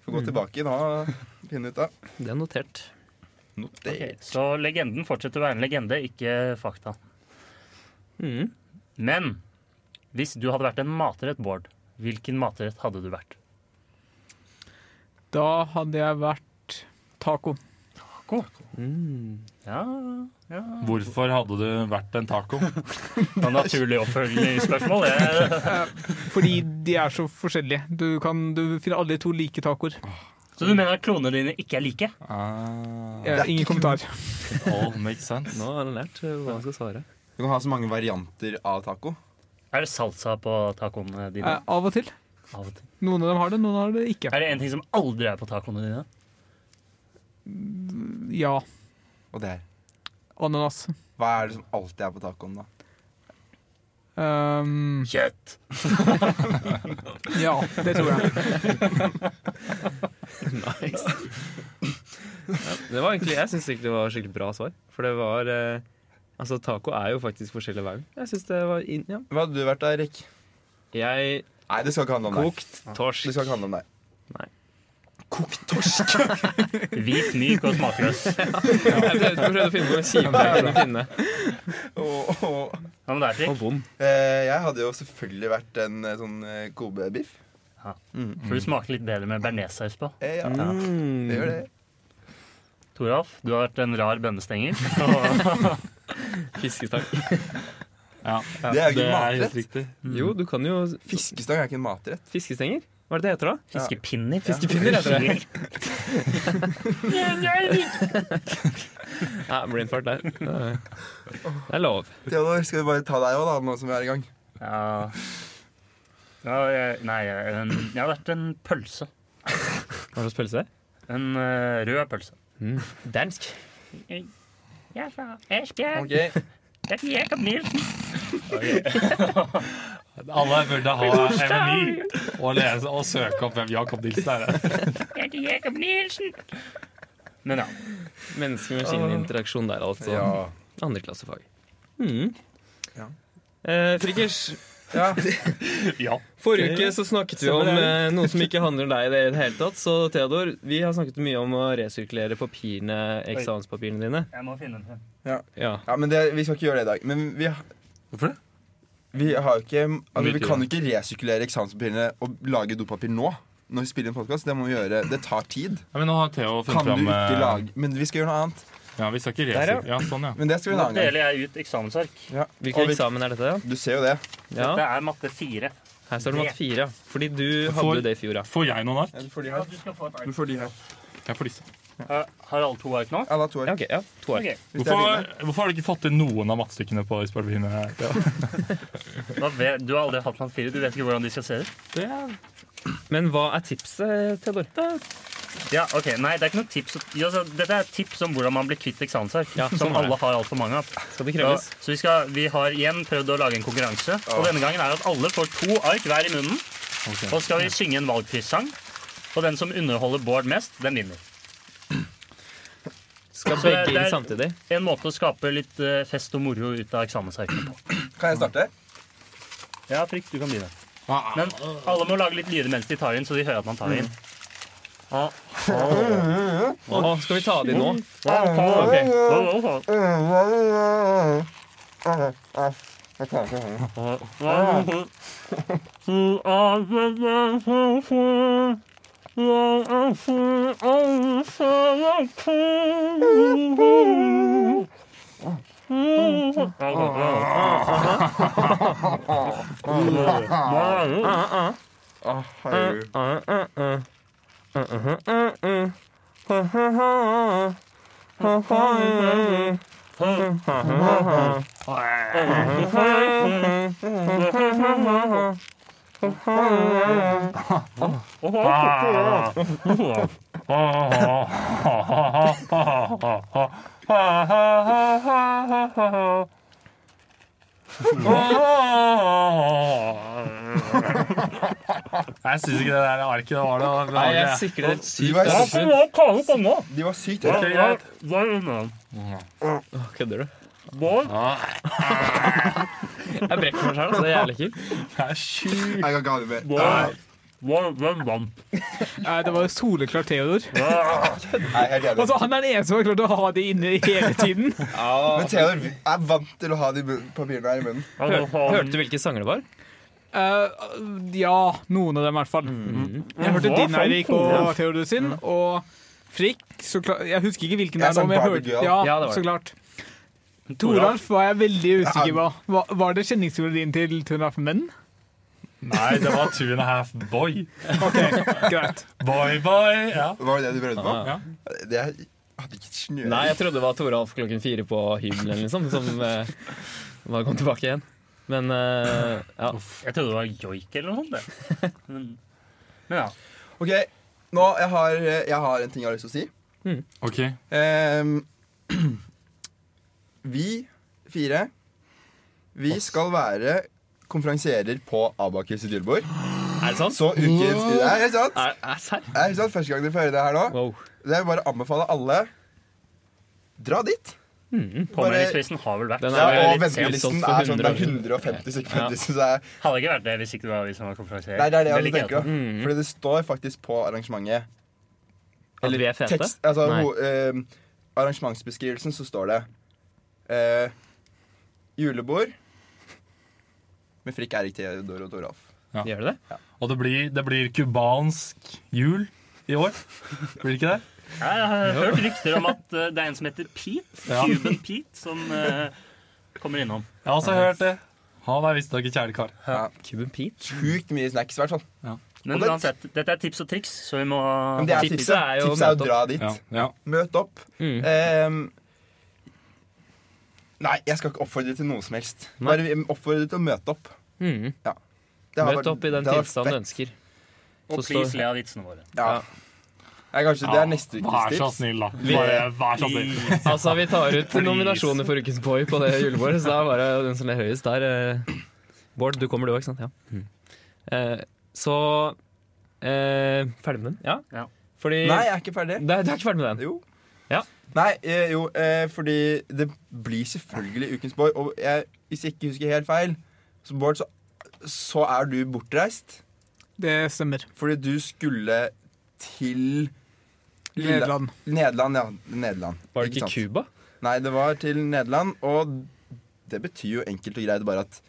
Får gå tilbake nå og finne ut av.
Det er notert.
Ok, Så legenden fortsetter å være en legende, ikke fakta.
Mm.
Men hvis du hadde vært en matrett, Bård, hvilken matrett hadde du vært?
Da hadde jeg vært
*laughs*
taco.
Ja, ja.
Hvorfor hadde du vært en
*laughs*
taco?
Det var naturlig oppfølgingsspørsmål. det.
Fordi de er så forskjellige. Du, kan, du finner alle to like tacoer.
Så du mener at klonene dine ikke er like?
Ah. Det er
Ja, Eh, ingen
ikke
kommentar.
All makes sense.
Nå har han lært eh, hva han skal svare.
Du kan ha så mange varianter av taco.
Er det salsa på tacoene dine?
Eh, av og til.
Av og til.
Noen av dem har det, noen har det ikke.
Er det en ting som aldri er på tacoene dine?
Ja.
Og det her.
Ananas.
Hva er det som alltid er på tacoen, da?
Um,
Kjøtt!
*laughs* ja, det tror jeg.
Nice. Ja, det var egentlig, jeg syns egentlig det var et skikkelig bra svar. For det var eh, Altså, taco er jo faktisk forskjellig hver gang. Jeg syns det var inn, ja.
Hva hadde du vært da, Erik?
Jeg
Nei, det skal ikke handle om deg.
kokt torsk. *laughs*
Det skal ikke handle om deg. *laughs*
Hvit, myk og smakløs.
Jeg prøvde, prøvde å finne på en *laughs* kjipe jeg kunne finne.
Åh, åh.
Hva med deg, Frik?
Og vond.
Eh, jeg hadde jo selvfølgelig vært en eh, sånn eh, Kobe-biff.
For du smaker litt bedre med bearnéssaus på.
Eh, ja, det gjør
Mm.
det.
Toralf, du har vært en rar bønnestenger. Og
Fiskestang.
Ja,
Det er jo ikke
det er helt
matrett.
riktig.
Jo, du kan jo
Fiskestang er ikke en matrett.
Fiskestenger? Hva er det det heter, da?
fiskepinner.
Fiskepinner heter det.
det.
Ja, Brainfart der. Det er lov.
Theodor, skal vi bare ta deg òg, da, nå som vi er i gang?
Ja. ja jeg, nei, jeg, en, jeg har vært en pølse.
Hva slags pølse?
En eh, rød pølse.
Dansk.
Jeg er fra Esbjerg.
Ok.
Jeg heter Jakob Nilsen.
Alle burde ha MMI og, lese, og søke opp hvem Jacob Nilsen er.
*laughs*
Jeg heter Jakob Nilsen. Men ja.
Ah. Menneske-maskin-interaksjon der, altså.
Ja.
Andreklassefag. Mm.
Ja.
Eh, Frikkers,
ja.
Ja.
forrige uke så snakket vi om eh, noe som ikke handler om deg i det hele tatt. Så Theodor, vi har snakket mye om å resirkulere papirene, eksamenspapirene dine.
Jeg må finne den.
Ja.
ja men det, vi skal ikke gjøre det i dag. Men vi,
Hvorfor det?
vi har jo ikke altså,
Mye
Vi
tid.
kan jo ikke resirkulere eksamenspapirene og lage dopapir nå. Når vi spiller en podkast. Det må vi gjøre. Det tar tid.
Ja, men nå har Theo funnet
Kan du
fram
ikke
eh,
lage Men vi skal gjøre noe annet.
Ja, vi skal ikke
Der,
resirkulere. Ja, sånn, ja.
Men det skal vi en
Nå
annen gang.
deler jeg ut eksamensark.
Hvilken
Og vi-
eksamen er dette?
Du ser jo det.
Ja,
Dette
ja
er matte fire.
Her står det matte fire. ja. Fordi du
Får-
hadde det i fjor, ja.
Får jeg noen ark?
Ja, du får de
Ja, du skal få et ark.
Du får de her.
Jeg får disse.
Eh, Har alle to ark nå?
Ja, da to
Ja,
her.
ok, ja. To år.
Ok.
Hvis det er
Hvorfor,
dine.
hvorfor har du ikke fått til noen av mattestykkene på Ispartiene?
*laughs*
Da vet, du har aldri hatt matte fire. Du vet ikke hvordan de skal se ut.
Det er
Men hva er tipset, Theodor?
Ja, ok, nei, det er ikke noe tips. Ja, altså, dette er tips om hvordan man blir kvitt eksamensark.
Ja,
som
sånn er det.
alle har altfor mange av.
Skal det
Ja,
kreves?
så vi, skal, vi har igjen prøvd å lage en konkurranse. Og denne gangen er det at alle får to ark hver i munnen. Og så skal vi synge en valgfrissang. Og den som underholder Bård mest, den vinner.
Skal
Så
begge
det er-
inn samtidig?
En måte å skape litt eh, fest og moro ut av eksamensarkene på.
Kan jeg starte?
Ja, Frikk, du kan begynne.
Ah,
Men alle må lage litt lyder mens de tar inn, så de hører at man tar inn. Ah,
Å, skal vi ta de nå?
ah, ah, ok. Ah, ah, ah.
Å, herregud.
*laughs* Jeg syns ikke det der arket var noe
Nei, jeg
behagelig, jeg.
sikrer det helt
De
sykt.
var,
altså.
Hvorfor må jeg ta opp denne?
de var sykt
Hva
høye.
er
greit.
hva er denne?
Å, Kødder du?
Bård?
Jeg brekker meg sjøl, så det er jævlig kult.
Det er sjukt.
Jeg kan ikke ha det mer.
Bård? Bård, Hvem vant?
Nei, Eh, det var jo soleklart Theodor.
Nei, helt jævlig.
Altså, han er den eneste som har klart å ha de inne hele tiden.
Men Theodor er vant til å ha de mun- papirene her i munnen.
Hør, hørte du hvilke sanger det var?
Eh, ja, noen av dem i hvert fall. Mm. Jeg hørte din, Eirik, og Theodor sin, og Frikk så klart, Jeg husker ikke hvilken det
Jeg
er nå,
sang
men jeg
Barbie
hørte
Girl.
ja,
Ja, det var
så
det.
klart. Toralf var jeg veldig usikker på. Var, var det kjenningsmelodien til Toralf Menn?
Nei, det var two and a half boy.
Ok, greit.
Boy, boy. Ja.
Var det det du prøvde på?
Ah.
Det jeg hadde ikke snøring.
Nei, jeg trodde det var Tore Alf klokken fire på hybelen, liksom, som eh, bare kom tilbake igjen. Men eh, ja.
Jeg trodde det var joik eller noe sånt. det. Men, men ja.
Ok, nå, jeg har, jeg har en ting jeg har lyst til å si.
Ok,
Ehm, *clears throat* vi fire Vi skal være konferansierer på Abakus sitt julebord.
Er det sant?
Så ukens Det er helt sant.
Er, er serr?
Det er helt sant. Første gang dere får høre det her nå.
Wow.
Det er bare å anbefale alle dra dit.
Påmeldingsprisen har vel vært
Den er
Ja,
jo
og
litt sent
ventelisten
solgt for
er sånn det er
100.
150 stykker. på
Ja.
ventelisten, så det er-
Hadde ikke vært det hvis ikke det var vi som var konferansier.
Nei, det er det jeg
Veldig
også tenker.
kjedelig.
da. Fordi det står faktisk på arrangementet
Eller vi er fete?
tekst, altså,
Nei.
ho, ehm, Arrangementsbeskrivelsen så står det eh, Julebord med Frikk, Erik, Theodor og Toralf.
Gjør det det?
Og det blir, det blir kubansk jul i år. Blir det ikke det?
Ja, Jeg har hørt rykter om at eh, det er en som heter Pete,
Ja.
Cuban Pete, som eh, kommer innom.
Jeg har også hørt det. Han er visstnok en kjærlig kar.
Cuban Pete?
Sjukt mye snacks, i hvert fall.
Men
Og det-
uansett, dette er tips og triks, så vi må
Men det er
tipset
tipset.
er jo
tipset er
møte
å dra dit.
Ja, ja.
Møt opp.
Mm.
Ehm, nei, jeg skal ikke oppfordre til noe som helst.
Nei.
Bare oppfordre til å møte opp.
Mm.
Det har
Møt
vært-
opp i den
det har vært
tilstanden du
fett.
ønsker.
Og
Så
please
står-
le av vitsene våre.
Ja.
Ja.
Nei, kanskje det er neste ukes
Vær så
tips.
snill, da. Bare, vær så snill.
Please.
Altså, vi tar ut nominasjoner for Ukens boy på det julebordet, så da er bare den som er høyest der. eh, Bård, du kommer du òg, ikke sant? Ja.
Mm.
Eh, så eh, Ferdig med den? Ja.
Ja.
Fordi
Nei, jeg er ikke ferdig.
Nei, du er ikke ferdig med den?
Jo.
Ja.
Nei, eh, jo, eh, fordi det blir selvfølgelig Ukens boy. Og jeg, hvis jeg ikke husker helt feil, så Bård, så, så er du bortreist.
Det stemmer.
Fordi du skulle til Lille-
Nederland.
Nederland, ja. Nederland.
Var det ikke
sant?
Cuba?
Nei, det var til Nederland. Og det betyr jo enkelt og greit bare at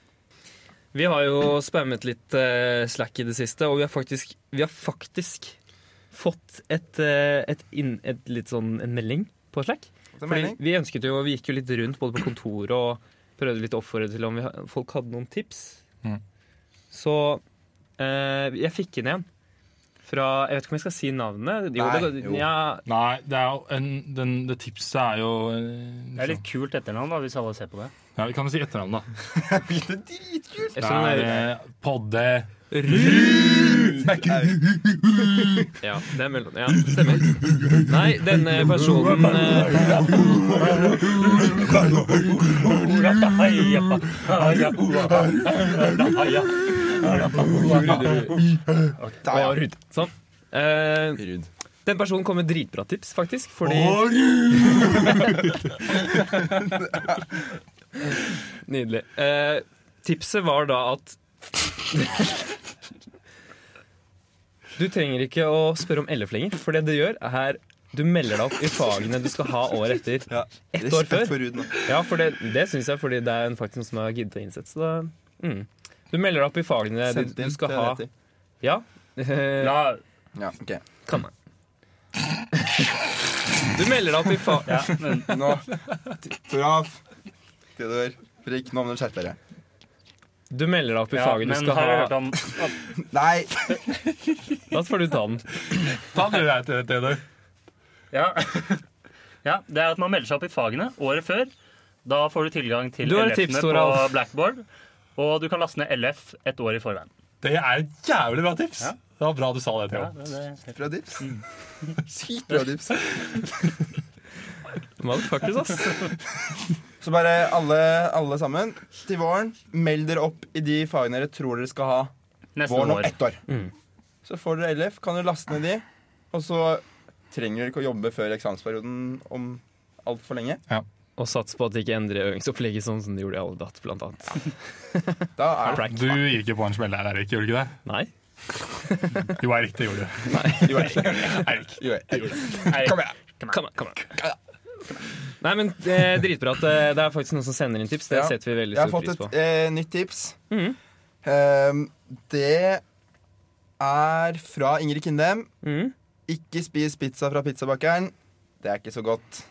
Vi har jo spammet litt eh, Slack i det siste, og vi har faktisk, vi har faktisk fått et, eh, et, inn, et litt sånn, en melding på Slack.
Hva er
Fordi
mening?
vi ønsket jo, vi gikk jo litt rundt både på kontoret og prøvde litt å oppfordre til om vi, ha- folk hadde noen tips.
Mm.
Mhm.
Så eh, jeg fikk inn en fra Jeg vet ikke om jeg skal si navnet. Jo,
Nei,
det,
jo.
Ja,
Nei, det, er jo en, den, det tipset er jo eh,
Det er litt kult etternavn, da, hvis alle ser på det.
Ja, Vi kan jo si etternavn, da.
*laughs* Det er dritkult!
jeg
Det
tror
er
den er
eh, Podde
Ja, det er mellom, ja, stemmer. Nei, denne personen eh,
Da,
Ruud. Sånn. Eh,
Rud.
den personen kom med dritbra tips, faktisk. Fordi Nydelig. Eh, tipset var da at *laughs* Du trenger ikke å spørre om LF lenger, for det du gjør, er du melder deg opp i fagene du skal ha året etter.
Ja.
Ett år
Respekt
før.
for Rud nå.
Ja, for det, det syns jeg, fordi det er en faktisk noen som har giddet å innsette. Så da, mm. Du melder deg opp i fagene du,
Sendt
du
inn
skal
til
ha.
Reti.
Ja. Eh,
La,
Ja, ok.
Kan
*laughs*
jeg. Du melder deg opp i fa...
ja, men,
Nå Toralf, Theodor, Frikk, nå må dere skjerpe dere.
Du melder deg opp i
ja,
faget du
men
skal
har du hørt
ha.
om at
Nei!
Da får du ta den.
Da gjør jeg til Theodor.
ja, *laughs* ja, det er at man melder seg opp i fagene året før. Da får du tilgang til
Du har et tips,
LF-ene på
Toralf.
Blackboard. Og du kan laste ned LF et år i forveien.
Det er et jævlig bra tips.
Ja.
Det var bra du sa det,
Ja,
Theo.
det, det.
Bra dips. Sykt bra dips.
Motherfuckers, ass.
Så bare alle, alle sammen, til våren, meld dere opp i de fagene dere tror dere skal ha
Neste
våren om
år.
ett år. Så får dere LF, kan dere laste ned de, og så trenger dere ikke å jobbe før eksamensperioden om altfor lenge.
Og sats på at de ikke endrer øvingsopplegget sånn som de gjorde i Aldat, blant annet.
Da er det
Du gikk jo på en smell der, Erik. Gjorde du ikke det?
Nei?
Jo, Erik, det gjorde du.
*laughs* Jo, jeg-
Erik.
jo, jeg-
Nei,
Kom igjen.
Kom an, kom an. Nei, men eh, dritbra at eh, det er faktisk noen som sender inn tips. Det
Ja.
setter vi veldig
Jeg har
stor
fått
pris på.
et eh, nytt tips.
Mhm.
Ehm, det er fra Ingrid Kindem.
Mhm.
Ikke spis pizza fra pizzabakeren. Det er ikke så godt.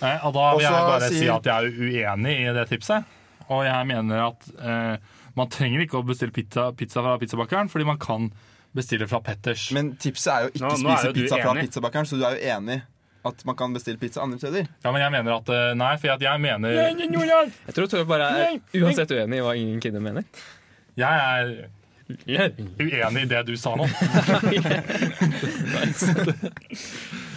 Nei, og da vil jeg
Også
bare si
sier-
at jeg er uenig i det tipset. Og jeg mener at eh, Man trenger ikke å bestille pizza, pizza fra pizzabakeren, fordi man kan bestille fra Petters.
Men tipset er jo ikke
Nå- nå er
spise
jo du
pizza fra
enig.
pizzabakeren, så du er jo enig at man kan bestille pizza andre steder.
Ja, men jeg mener at eh, Nei, for jeg, jeg mener
Jeg tror Tore bare er uansett uenig i hva ingen kidder mener.
Jeg er uenig i det du sa nå.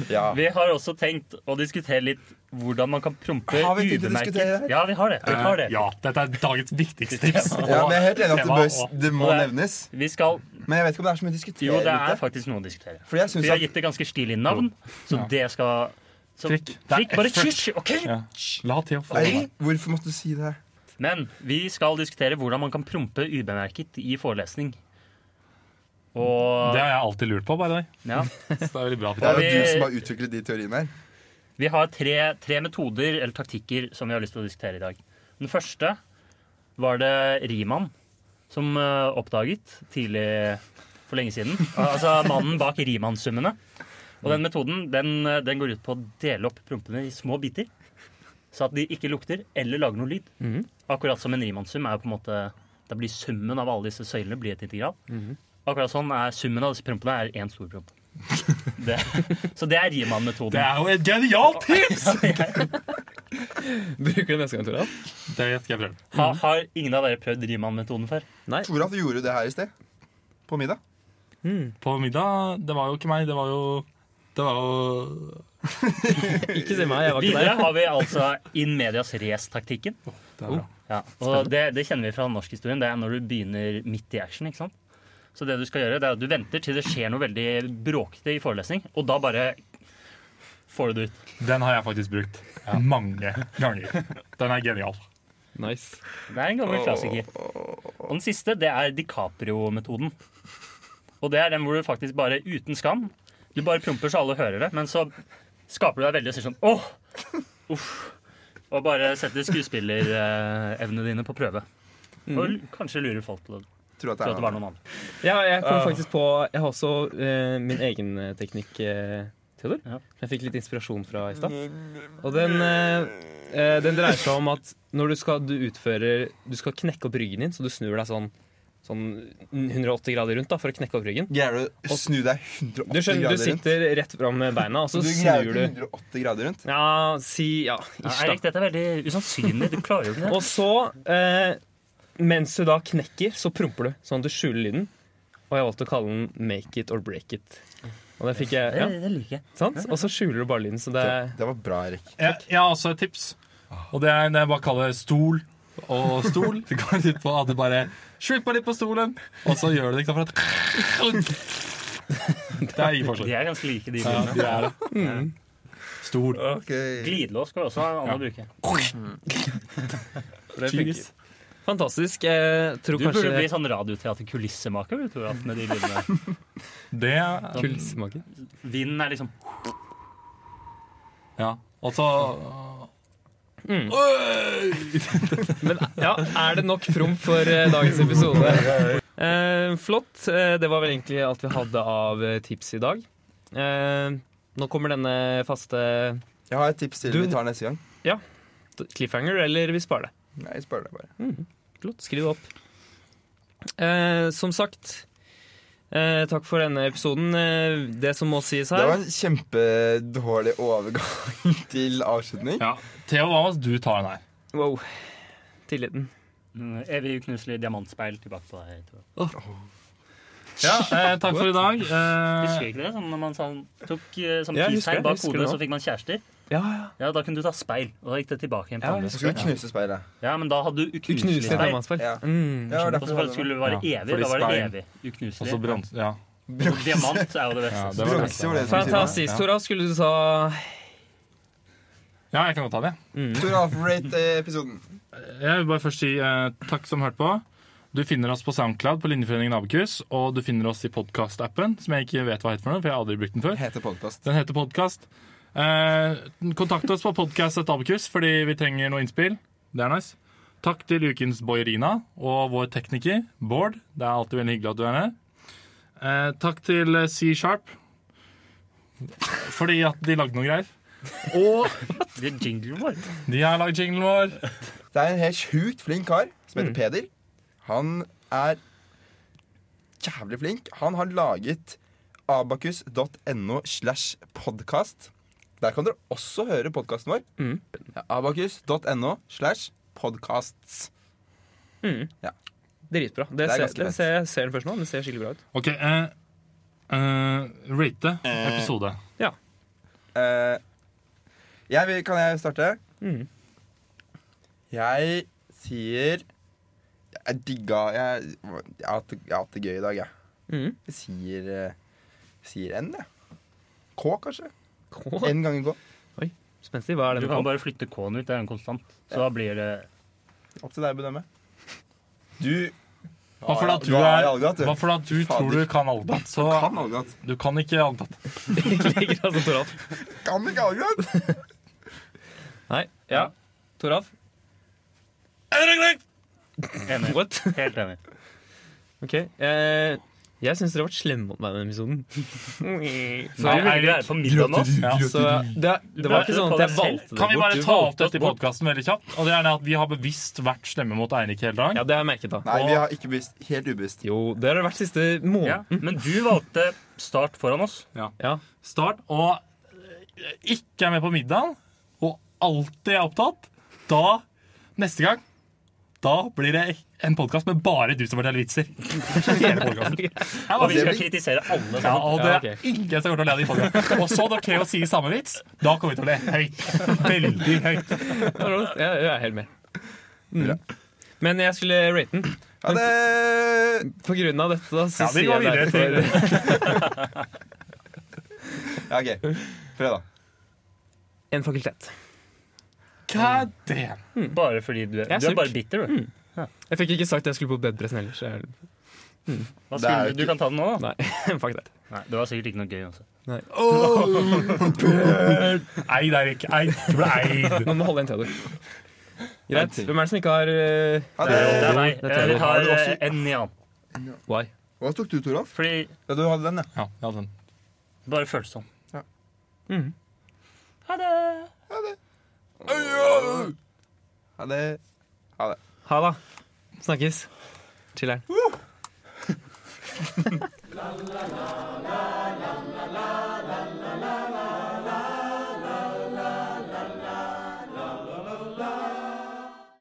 Ja.
Vi har også tenkt å diskutere litt hvordan man kan prompe
Har vi tid til å
ubemerket.
diskutere det?
Ja, vi har det. Vi har det.
Eh, Ja, dette er dagens viktigste tips.
Ja, men jeg er helt enig at det,
Tema
bør,
og-
det må
og det-
nevnes.
Vi skal
Men jeg vet ikke om det er så mye å diskutere
Jo, det
rundt
er
det.
faktisk noe å diskutere.
Fordi jeg
Vi
synes
har
at
gitt det ganske stilig navn, så det skal så,
Trikk. Det er
Trikk, bare
effort.
kysj! OK?
Ja. La Theo få
Nei, Hvorfor måtte du si det?
Men vi skal diskutere hvordan man kan prompe ubemerket i forelesning. Og
Det har jeg alltid lurt på, by the way.
ja,
Så det er veldig bra. at
Det
vi tar
er
det.
jo
vi-
du som har utviklet de teoriene her.
Vi har tre, tre metoder eller taktikker som vi har lyst til å diskutere i dag. Den første var det Riemann som eh, oppdaget tidlig for lenge siden. Altså mannen bak Riemann-summene. Og den metoden den, eh, den går ut på å dele opp prompene i små biter. Så at de ikke lukter eller lager noe lyd.
Mhm.
Akkurat som en Riemann-sum er jo på en måte Da blir summen av alle disse søylene blir et integral.
Mhm.
Akkurat sånn er summen av disse prompene er én stor promp. Det, så det er Riemann-metoden.
Det er jo et genialt tips!
Bruker du neste gang, Tora?
Det skal jeg prøve.
Ha, har ingen av dere prøvd Riemann-metoden før?
Nei.
Tror du at du gjorde det her i sted? På middag?
På middag Det var jo ikke meg, det var jo Det var jo
Ikke se meg, jeg var ikke
Videre
der.
har vi altså in medias race-taktikken.
det er bra.
Ja, og det, det kjenner vi fra norskhistorien. Det er når du begynner midt i action. ikke sant? Så det du skal gjøre, det er at du venter til det skjer noe veldig bråkete i forelesning, og da bare får du det ut.
Den har jeg faktisk brukt mange ganger. Den er genial.
Nice.
Det er en gammel klassiker. Og den siste, det er DiCaprio-metoden. Og det er den hvor du faktisk bare, uten skam, du bare promper så alle hører det, men så skaper du deg veldig og sier sånn åh, uff. Og bare setter skuespillerevnene dine på prøve. Og l- kanskje lurer folk til å tro
Tror at det
at det var
er
noen andre.
Ja, jeg
Ah.
kom faktisk på Jeg har også eh, min egen eh, teknikk, eh, Theodor.
Ja.
som Jeg fikk litt inspirasjon fra i stad. Og den, eh, eh, den dreier seg om at når du skal du utfører Du skal knekke opp ryggen din, så du snur deg sånn, sånn 180 grader rundt da, for å knekke opp ryggen.
Greier du å snu deg
Du
180
skjønner, du
grader rundt?
sitter rett fram med beina, og så
Du
snur
greier
du
ikke 180 grader rundt?
Ja, si Ja,
Ja,
ish, da.
Eirik, dette er veldig usannsynlig. Du klarer jo ikke det.
Og så, eh, mens du da knekker, så promper du, sånn at du skjuler lyden. Og jeg valgte å kalle den 'make it or break it'. Og det fikk jeg,
Det,
ja,
det liker jeg.
sant? Og så skjuler du bare lyden, så det er
Det var bra, Erik.
Jeg, jeg har også et tips, og det er det jeg bare kaller stol og stol. *laughs* Det går ut på at du bare slipper litt på stolen, og så gjør du det ikke sant, for at *laughs* Det er ingen
De
forskjell.
er ganske like, de
Ja,
lydene.
det er det. Stol.
Glidelås skal vi også ha an å bruke.
for det funker.
Cheese.
Fantastisk. Jeg tror
Du
kanskje
burde bli sånn radioteater-kulissemaker, du, Toralf, med de lydene.
Det er
Kulsmaker.
Vinden er liksom
Ja. Og så
Mm.
Oi!
Men ja, er det nok prom for eh, dagens episode? Eh, flott. Eh, det var vel egentlig alt vi hadde av eh, tips i dag. Eh, nå kommer denne faste
Jeg har et tips til
Du-
vi tar neste gang.
cliffhanger, eller vi sparer det.
Nei, jeg spør deg bare.
Mm. Flott. Skriv det opp. Eh, som sagt, eh, takk for denne episoden. Eh, det som må sies
Det var
her
en kjempedårlig overgang *laughs* til avslutning.
Ja. Theo, hva med at du tar den her?
Wow. Tilliten.
mm, evig uknuselig diamantspeil tilbake på deg. Toralf.
Ja, eh, takk for i dag. Eh,
Husker du ikke det? Sånn, når man sånn, tok eh, sånn
Ja, jeg husker
peace-tegn
det,
bak
husker det
hodet,
nå.
så fikk man kjærester.
Ja, ja.
Ja, Da kunne du ta speil, og da gikk det tilbake igjen.
Ja,
til andre.
Så skal vi knuse speilet.
ja, Men da hadde du uknuselig
Uknuselig
speil.
diamantspill.
Ja.
Mm.
Ja, det var
Og så
derfor jeg hadde
skulle det vare
Ja,
evig.
fordi
Da var det
speil-
evig.
og så
Uknuselig.
bronse. Ja.
Og *laughs* Diamant er jo
Ja,
det beste.
det.
det var
Bronse var det du skulle si.
Fantastisk. Tora, skulle du sa
ja, jeg kan godt ta det.
Toralf, rate eh, episoden.
Jeg vil bare først si eh, takk som hørte på. Du finner oss på SoundCloud på Linjeforeningen Abekus, og du finner oss i podkastappen, som jeg ikke vet hva heter for noe, for jeg har aldri brukt den før.
Heter podkast.
Den heter Podkast. Eh, kontakt oss på podkast.abekus, fordi vi trenger noe innspill. Det er nice. Takk til ukens boierina og vår tekniker, Bård. Det er alltid veldig hyggelig at du er her. Eh, takk til eh, C Sharp, fordi at de lagde noe greier. Og
Det er jinglen vår.
de har lagd jinglen vår.
Mm.
Det er en helt sjukt flink kar som heter Peder. Han er jævlig flink. Han har laget abakus.no slash podkast. Der kan dere også høre podkasten vår.
Mm.
Abakus.no slash podcasts.
Dritbra. Det,
Det er
ser,
ganske
det
fett.
ser, jeg ser den først nå. Den ser skikkelig bra ut.
OK. eh, eh, rate episode.
Eh, jeg vil, kan jeg starte?
Mm.
Jeg sier Jeg digga Jeg jeg har hatt det- jeg har hatt det gøy i dag, jeg.
Mm.
Jeg sier, eh, sier N, jeg. K, kanskje.
K.
N ganger K.
Spenstig. Hva er
Du
den
kan
på?
bare flytte K-en ut, det er en konstant. Så da blir det
Opp til deg å bedømme. Du
Hva for at du,
har
er,
Algat, du.
hva for at du tror
Fader.
du kan Algat, så
Kan Algat.
du kan ikke Algat.
Ligger altså Toralf.
Kan ikke Algat!
Nei. Ja. Toralf.
enig.
What? *laughs*
Helt enig.
Ok. Eh, jeg syns dere har vært slemme mot meg i denne episoden. Så,
Nei,
Nei,
Eirik, du er på middag nå.
Ja,
så det, det var ikke sånn at jeg valgte det
Kan vi
bort.
bare
Du
ta opp
valgte oss
dette i
bort.
podkasten veldig kjapt? Og det er det at Vi har bevisst vært slemme mot Eirik hele dagen.
Ja, det har jeg merket, da.
Nei, vi har ikke bevisst. Helt ubevisst.
Jo, det har det vært siste *laughs*
Ja.
måneden.
Men du valgte start foran oss.
Ja.
Start og eh, ikke er med på middagen, og alltid er opptatt, da Neste gang da blir det en podkast med bare du som forteller vitser. Hele podcasten. Ja,
Og vi
det
skal
blir-
kritisere alle
ja,
sammen.
og det
Ja,
er
ok.
ingen som kommer til å le av de folkene. Og så når Theo sier samme vits, da kommer vi til å le høyt. Veldig høyt.
Jeg, jeg er helt med. Mm. Men jeg skulle rate den.
Ha det!
På grunn av dette, da, så
Ja, vi
sier
går
jeg
videre
derfor
til
Ja, OK. Fredag.
en fakultet.
God damn.
Bare fordi du er,
Jeg er
du er
sjuk.
bare bitter, du.
Jeg fikk ikke sagt at jeg skulle på bedpressen heller. Så jeg,
Hva
Det er
skulle
jo
du? Du kan ta den nå, da.
nei, *laughs* fuck that.
Nei, det var sikkert ikke noe gøy. altså. Også.
Eid, Eirik. Eid. Du ble eid.
Nå må holde igjen Theodor. Greit. Hvem er det som ikke har eh,
Ha
Det
det!
er, det er meg.
det er
Jeg
det.
Har
tar
du også-
eh, en i annen.
Why?
Hva tok du, Toralf?
Fordi
Ja, du hadde den, ja.
Ja, jeg hadde den.
det bare føles sånn.
Mhm.
Ha det!
Ha det.
Ha det. Snakkes. Chiller'n.